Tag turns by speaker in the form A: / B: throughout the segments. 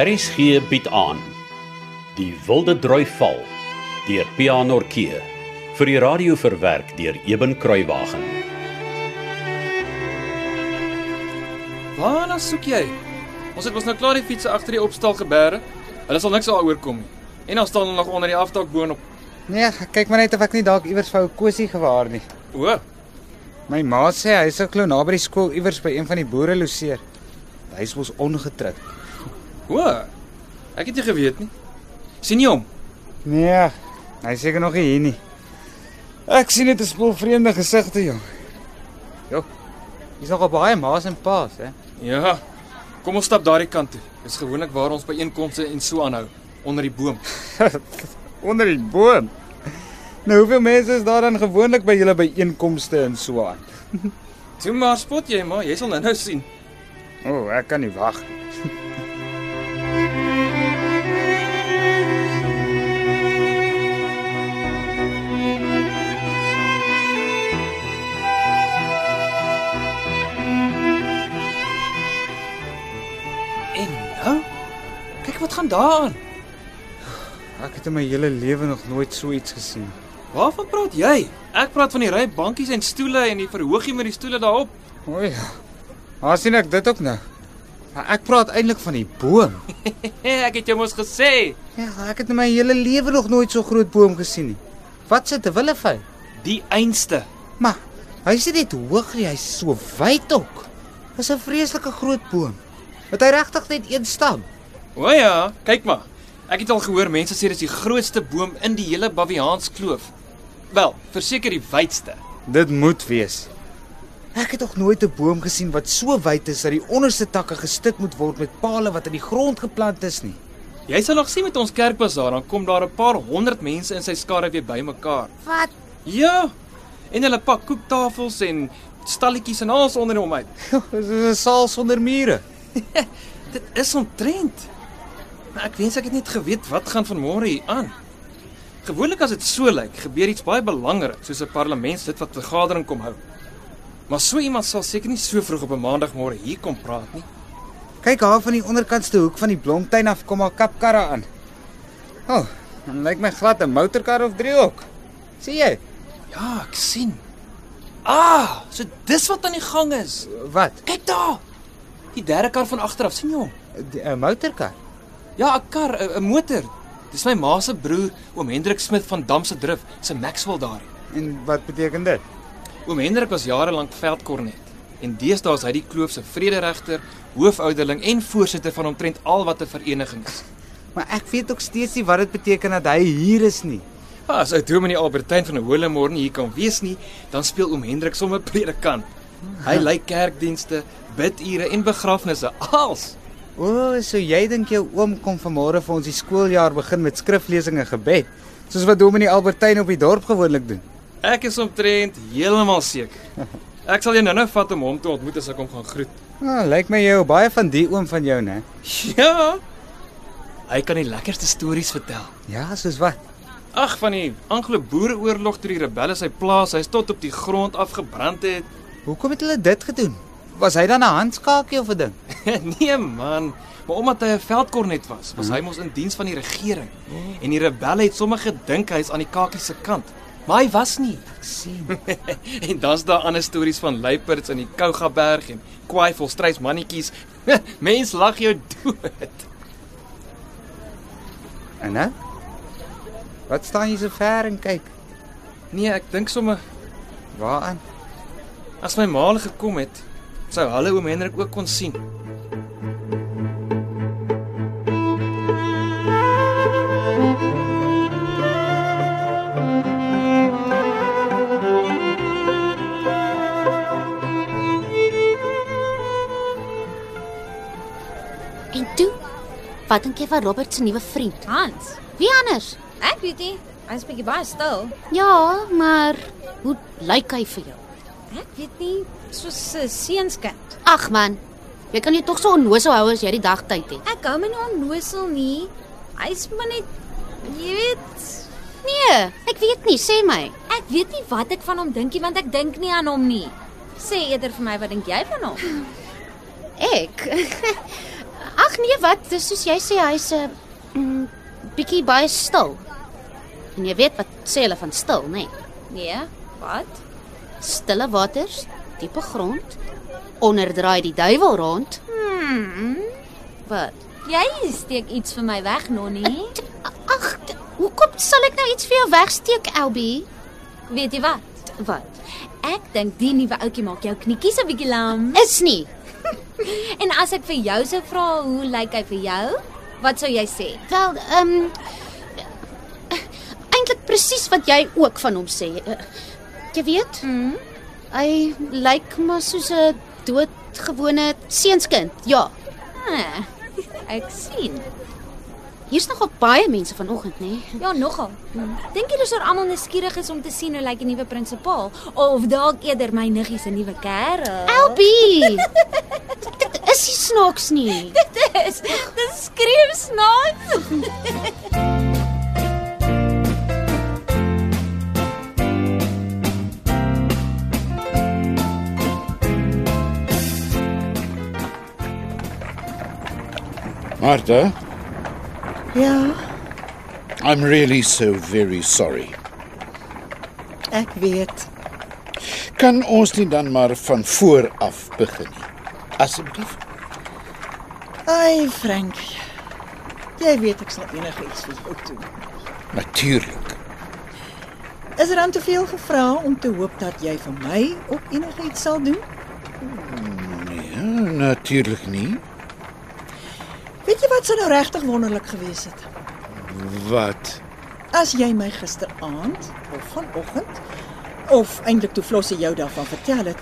A: Aris gee bied aan Die Wilde Droi Val deur Pianorkee vir die radio verwerk deur Eben Kruiwagen.
B: Waarna soek jy? Ons het mos nou klaar die fietsse agter die opstal geberg. Hulle sal niks daaroor kom nie. En dan staan hulle nog onder die afdak boonop.
C: Nee, ek kyk maar net of ek nie dalk iewers vir ou Kosie gewaar nie.
B: O,
C: My ma sê hy sou glo naby die skool iewers by een van die boere loseer. Hy is mos ongetrek.
B: o. Ek het nie geweet nie. sien jy hom?
C: Nee, hy is seker nog nie hier nie. Ek sien dit is vol vreemde gesigte, jong. Jo. Hier's nogal baie ma's en pa's, hè.
B: Ja. Kom ons stap daardie kant toe. Dis gewoonlik waar ons by einkomste en so aanhou, onder die boom.
C: Onder die boom. Nou hoeveel mense is daar dan gewoonlik by julle byeenkomste in Swaan?
B: Toe maar spot jy maar, jy sal nou-nou sien.
C: O, oh, ek kan nie wag nie.
B: En nou? Kyk wat gaan daaraan.
C: Ek het in my hele lewe nog nooit so iets gesien.
B: Waarvan praat jy? Ek praat van die ry bankies en stoele en die verhoogie met die stoele daarop.
C: O ja. Waar sien ek dit ook nou? Maar ek praat eintlik van die boom.
B: ek het jou mos gesê,
C: Ja, ek het in my hele lewe nog nooit so groot boom gesien nie. Wat se te wille van?
B: die einste.
C: Maar hy's nie net hoog nie, hy's so wyd ook. Dis 'n vreeslike groot boom. Het hy regtig net een stam?
B: O ja, kyk maar. Ek het al gehoor mense sê dis die grootste boom in die hele Baviaans Kloof. Wel, verseker die wydste.
C: Dit moet wees. Ek het nog nooit 'n boom gesien wat so wyd is dat die onderste takke gestik moet word met pale wat in die grond geplant is nie.
B: Jy sal nog sien met ons kerkbazaar, dan kom daar 'n paar honderd mense in sy skare weer bymekaar.
C: Wat?
B: Ja. En hulle pak koektafels en stalletjies en alles onder hom uit.
C: Dis 'n saal sonder mure.
B: Dit is omtrent. Maar ek wens ek het net geweet wat gaan vanmôre hier aan. Gewoonlik as dit so lyk, gebeur iets baie belangrik, soos 'n parlementslid wat vergadering kom hou. Maar so iemand sal seker nie so vroeg op 'n maandagmôre hier kom praat nie.
C: Kyk haar van die onderkantste hoek van die blomtuin af kom haar kapkarre aan. O, oh, dan lyk my glad 'n motorkar of drie ook. Sien jy?
B: Ja, ek sien. Ah, so dis wat aan die gang is.
C: Wat?
B: Kyk daar. Die derde kar van agter af, sien jy hom?
C: 'n Motorkar?
B: Ja, 'n kar, 'n 'n motor. Dis my ma se broer, oom Hendrik Smit van Damse Drif, se Maxwell daar.
C: En wat beteken dit?
B: Oom Hendrik was jare lank veldkornet en deesdae is hy die kloof se vrederegter, hoofouderling en voorsitter van omtrent al wat 'n vereniging is.
C: Maar ek weet ook steeds nie wat dit beteken dat hy hier is nie.
B: Ah, as ou Dominee Albertyn van Holemorne hier kan wees nie, dan speel oom Hendrik sommer predikant. Hy lei kerkdienste, bidure en begrafnisse, als.
C: O, so jy dink jou oom kom vanmôre vir ons die skooljaar begin met skriflesing en gebed, soos wat Dominee Albertyn op die dorp gewoonlik doen.
B: Ek is omtrent heeltemal seker. Ek sal jou nou-nou vat om hom te ontmoet as ek hom gaan groet.
C: Nou, lyk my jy hou baie van die oom van jou, né?
B: Ja. Hy kan die lekkerste stories vertel.
C: Ja, soos wat?
B: Ag van die Anglo-Boereoorlog toe die rebelle sy plaas, hy's tot op die grond afgebrand het.
C: Hoekom het hulle dit gedoen? Was hy dan 'n handskaakie of 'n ding?
B: nee man, maar omdat hy 'n veldkornet was, was hy mos in diens van die regering. En die rebelle het sommer gedink hy's aan die kakie se kant, maar hy was nie.
C: Ek sien.
B: en dan's daar ander stories van luiperds in die Kougaberg en kwaai volstreys mannetjies. Mens lag jou dood.
C: En nou? Wat staan jy so ver en kyk?
B: Nee, ek dink sommer
C: Waaraan?
B: as my ma al gekom het, sou hulle oom Hendrik ook kon sien.
D: En toe, wat dink jy van Robert se nuwe vriend?
E: Hans,
D: Wie anders?
E: ek weet nie. Hy's bietjie baie stil.
D: Ja, maar hoe lyk hy vir jou?
E: Ek weet nie soos eh, 'n seunskind.
D: Ag man, jy kan jou tog so onnoos hou as jy die dag tyd het.
E: Ek hou my nie onnosel nie. Hy's maar net jy weet,
D: Nee, ek weet nie, sê my.
E: ek weet nie wat ek van hom dink nie want ek dink nie aan hom nie. Sê eerder vir my wat dink jy van hom?
D: Ek. Ag Ag nee, wat? Dis soos jy sê hy's 'n mm, bietjie baie stil. En jy weet wat sê hulle van stil, nê? Nee?
E: Nee, wat?
D: Stille waters, diepe grond, onderdraai die duiwel rond. Wat?
E: Hmm, Jy steek iets vir my weg, Nonnie.
D: T- Ag, t- hoekom sal ek nou iets vir jou wegsteek, Elbie?
E: Weet jy wat?
D: Wat?
E: Ek dink die nuwe ouetjie maak jou knietjies 'n bietjie lam.
D: Is nie.
E: En as ek vir jou sou vra hoe lyk hy vir jou? Wat sou jy sê?
D: Wel, ehm um, eintlik presies wat jy ook van hom sê. Eh, Jy weet?
E: Mhm.
D: Hy lyk maar soos 'n doodgewone seunskind. Ja,
E: Ah, ek sien.
D: hier's nogal baie mense vanoggend, nê?
E: Ja, nogal. Dink jy dis oor almal nuuskierig is om te sien hoe lyk die nuwe prinsipaal of dalk eerder my niggie se nuwe kerel?
D: Elbie. Dit- Dit is nie snaaks nie.
E: Dis dis skreeu snaaks.
F: Martha,
G: Ja,
F: I'm really so very sorry.
G: ek weet.
F: Kan ons nie dan maar van voor af begin nie? Asseblief.
G: Ai, Frankie. Jy weet ek sal enigiets vir jou doen.
F: Natuurlik.
G: Is er aan te veel gevra om te hoop dat jy vir my ook enigiets sal doen?
F: Nee, natuurlik nie.
G: Weet jy wat sou nou regtig wonderlik gewees het?
F: Wat?
G: As jy my gisteraand of vanoggend of eintlik toe Flossie jou daarvan vertel het,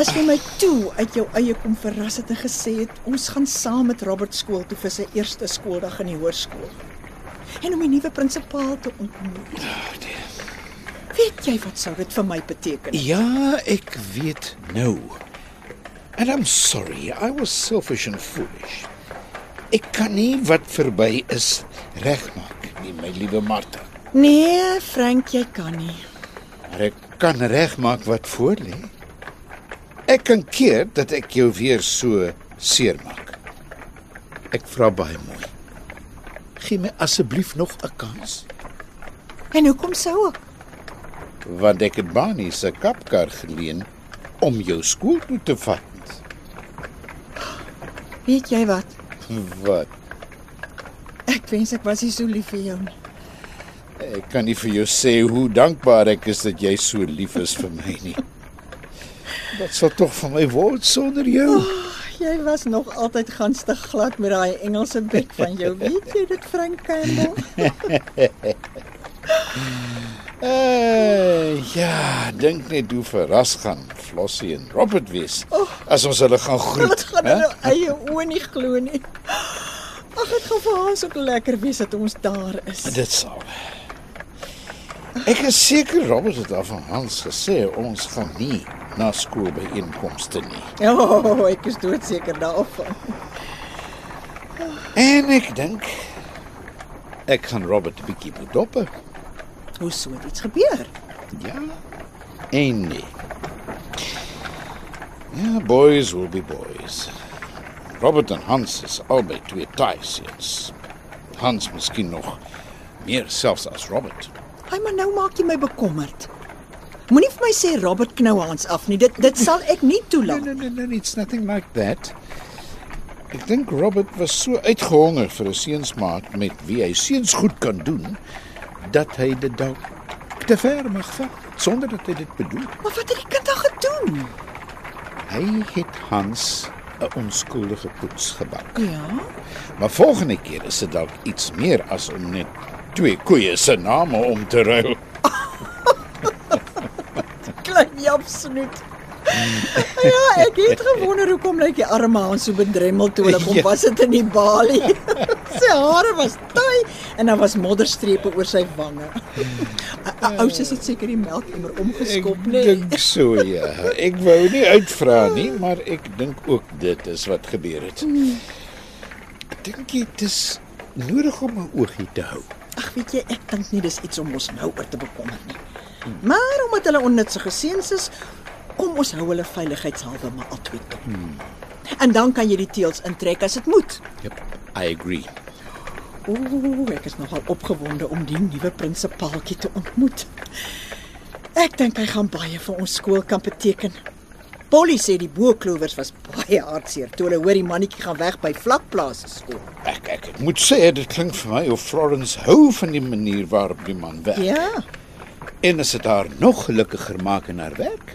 G: as jy my toe uit jou eie kom verras het en gesê het ons gaan saam met Robert skool toe vir sy eerste skooldag in die hoërskool en om die nuwe prinsipaal te ontmoet. Weet jy wat sou dit vir my beteken?
F: Ja, ek weet nou. And I'm sorry. I was selfish and foolish. Ek kan nie wat verby is regmaak nie, my liewe Martha.
G: Nee, Frank, jy kan nie.
F: Maar ek kan regmaak wat voor lê. Ek kan keer dat ek jou weer so seermaak. Ek vra baie mooi. Gee my asseblief nog 'n kans,
G: En hoekom sou ek?
F: want ek het Bani se kapkar geleen om jou skool toe te vat.
G: Weet jy wat?
F: Wat?
G: Ek wens ek was nie so lief vir jou nie.
F: Ek kan nie vir jou sê hoe dankbaar ek is dat jy so lief is vir my nie. Wat sou tog van my word sonder jou?
G: Jy was nog altyd ganstig glad met daai Engelse bek van jou. Weet jy dit, Frank Campbell?
F: Eh, ja, dink net hoe verras gaan Flossie en Robert wees as ons hulle gaan groet.
G: Wat gaan
F: hè?
G: hulle eie oë nie glo nie. Ag, dit gaan vir ons ook lekker wees dat ons daar is.
F: Dit sal. Ek is seker Robert het al van Hans gesê ons gaan nie na skool by inkomste nie.
G: Ja, oh, ek is doodseker daarvan.
F: En ek dink ek gaan Robert 'n bietjie moet dop.
G: Hoe sou dit gebeur?
F: Ja. En nee. Ja, boys will be boys. Robert en Hans is albei twee taaisels. Hans miskien nog meer selfs as Robert.
G: Ai, maar nou maak jy my bekommerd. Moenie vir my sê Robert knou Hans af nie. Dit dit sal ek nie toelaat.
F: no, no, it's nothing like that. Ek dink Robert was so uitgehonger vir 'n seunsmaat met wie hy seuns goed kan doen dat hy dit dalk te ver mag vat sonder dat hy dit bedoel.
G: Maar wat het die kind dan gedoen?
F: Hy het Hans 'n onskuldige poets gebak.
G: Ja.
F: Maar volgende keer is dit dalk iets meer as om net twee koeie se name om te ruil.
G: Klein japsnoet. ja, ek het gewonder hoekom lyk die arme Hans so bedremmel toe hulle kom
F: Ja.
G: was dit in die balie. sy hare was taai en daar was modderstrepe oor sy wange.
F: Hmm.
G: Ouers het seker die melkemmer omgeskop, nê? Nee.
F: dink so ja. Ek wou nie uitvra nie, maar ek dink ook dit is wat gebeur het. Ek dink dit is nodig om 'n oogie te hou.
G: Ag, weet jy, ek dink nie dis iets om ons nou oor te bekommer nie. Maar omdat hulle onnutsige seuns is, kom ons hou hulle veiligheidshalwe maar altyd dop. En dan kan jy die teels intrek as dit moet.
F: Yep, I agree.
G: Ooh, ek is nogal opgewonde om die nuwe prinsipaaltjie te ontmoet. Ek dink hy gaan baie vir ons skool kan beteken. Polly sê die boeklovers was baie hartseer toe hulle hoor die mannetjie gaan weg by vlakplaas se skool.
F: Ek ek ek moet sê dit klink vir my of Florence hou van die manier waarop die man werk.
G: Ja,
F: En as dit haar nog gelukkiger maak in haar werk,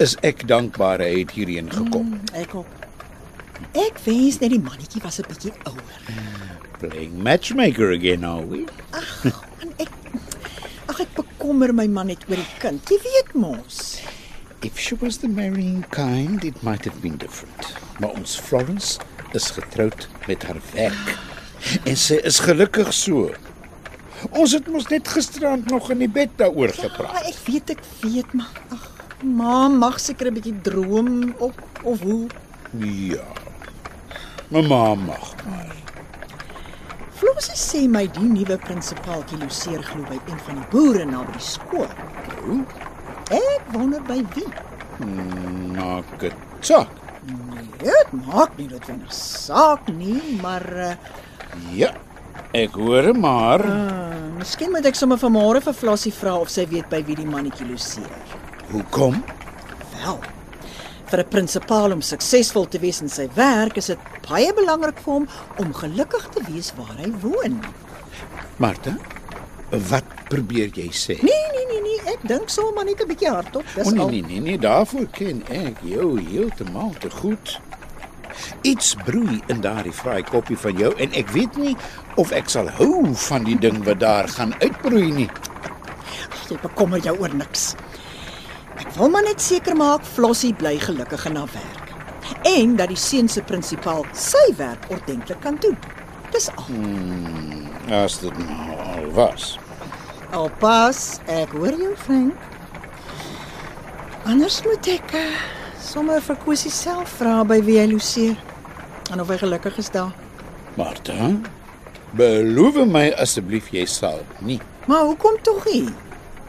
F: is ek dankbaar hy het hierheen gekom.
G: ek ook. Ek wens net die mannetjie was 'n bietjie ouer.
F: Playing matchmaker again are we?
G: En ek Ag ek bekommer my man net oor die kind. Jy weet mos.
F: If she was the marrying kind, it might have been different. Maar ons Florence is getroud met haar werk en sy is gelukkig so. Ons het mos net gisterand nog in die bed daaroor
G: Maar
F: gepraat.
G: Ah, ek weet ek weet maar ag ma mag seker 'n bietjie droom op of hoe
F: Ja. Mamma mag maar.
G: Flossie sê my die nuwe prinsipaaltjie Luseer glo by een van die boere naby die skool. Ek wonder by wie.
F: Maak dit saak.
G: Dit Nee, maak nie noodwendig saak nie, maar uh,
F: Ja. Ek hoor maar
G: eh, miskien moet ek sommer vanmôre vir Flossie vra of sy weet by wie die mannetjie Luseer.
F: hoekom?
G: Wel. Vir 'n prinsipaal om suksesvol te wees in sy werk is dit baie belangrik vir hom om gelukkig te wees waar hy woon.
F: Martha, wat probeer jy sê?
G: Nee, nee, nee, nee, ek dink sommer net 'n bietjie hardop. Dis
F: O nee
G: al.
F: nee nee nee, daarvoor ken ek jou heeltemal te goed. Iets broei in daardie fraai koppie van jou en ek weet nie of ek sal hou van die ding wat daar gaan uitbroei nie.
G: Jy bekommer jou oor niks. Ek wil maar net seker maak Flossie bly gelukkig in haar werk en dat die seun se prinsipaal sy werk ordentlik kan doen. Dis al.
F: As dit nou al was.
G: Alpas, ek hoor jou, Frank. Anders moet ek uh, sommer vir Kosie self vra by wie hy loseer en of hy gelukkig is daar.
F: Martha, beloof my asseblief jy sal nie.
G: Maar hoekom tog nie?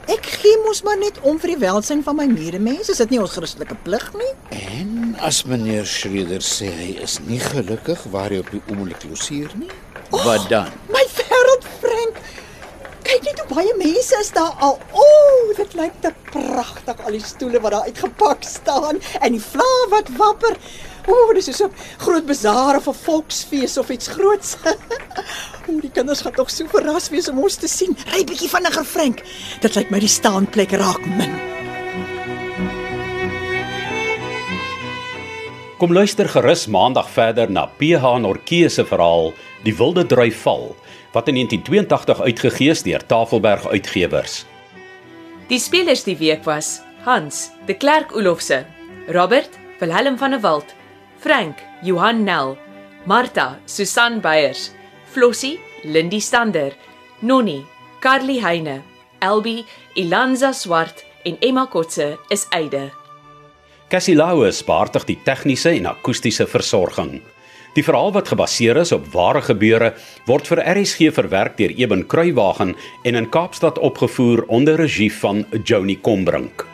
G: Ek gee mos maar net om vir die welsyn van my medemens. Is dit nie ons Christelike plig nie?
F: En as meneer Schreder sê hy is nie gelukkig waar hy op die oomblik losier nie, wat dan?
G: My wêreld, Frank. Kyk net hoe baie mense is daar al. O, oh, dit lyk te pragtig al die stoele wat daar uitgepak staan en die vlae wat wapper. O, oh, dis so 'n groot bazaar of 'n volksfees of iets groots. O, die kinders gaan tog so verras wees om ons te sien. Ry bietjie vinniger, Frank. Dit lyk my die staanplek raak min.
A: Kom luister gerus maandag verder na PH Nortjee se verhaal Die Wilde Drui Val wat in 1982 uitgegee is deur Tafelberg Uitgewers.
H: Die spelers die week was Hans, De Klerk Olofse, Robert, Wilhelm van der Walt, Frank, Johan Nel, Martha, Susan Beyers, Flossie, Lindy Stander, Nonnie, Carly Heine, Elbi, Ilanza Swart en Emma Kotse is eide.
A: Cassie Lauers behartig die tegniese en akoestiese versorging. Die verhaal wat gebaseer is op ware gebeure word vir RSG verwerk deur Eben Kruiwagen en in Kaapstad opgevoer onder regie van Joni Combrink.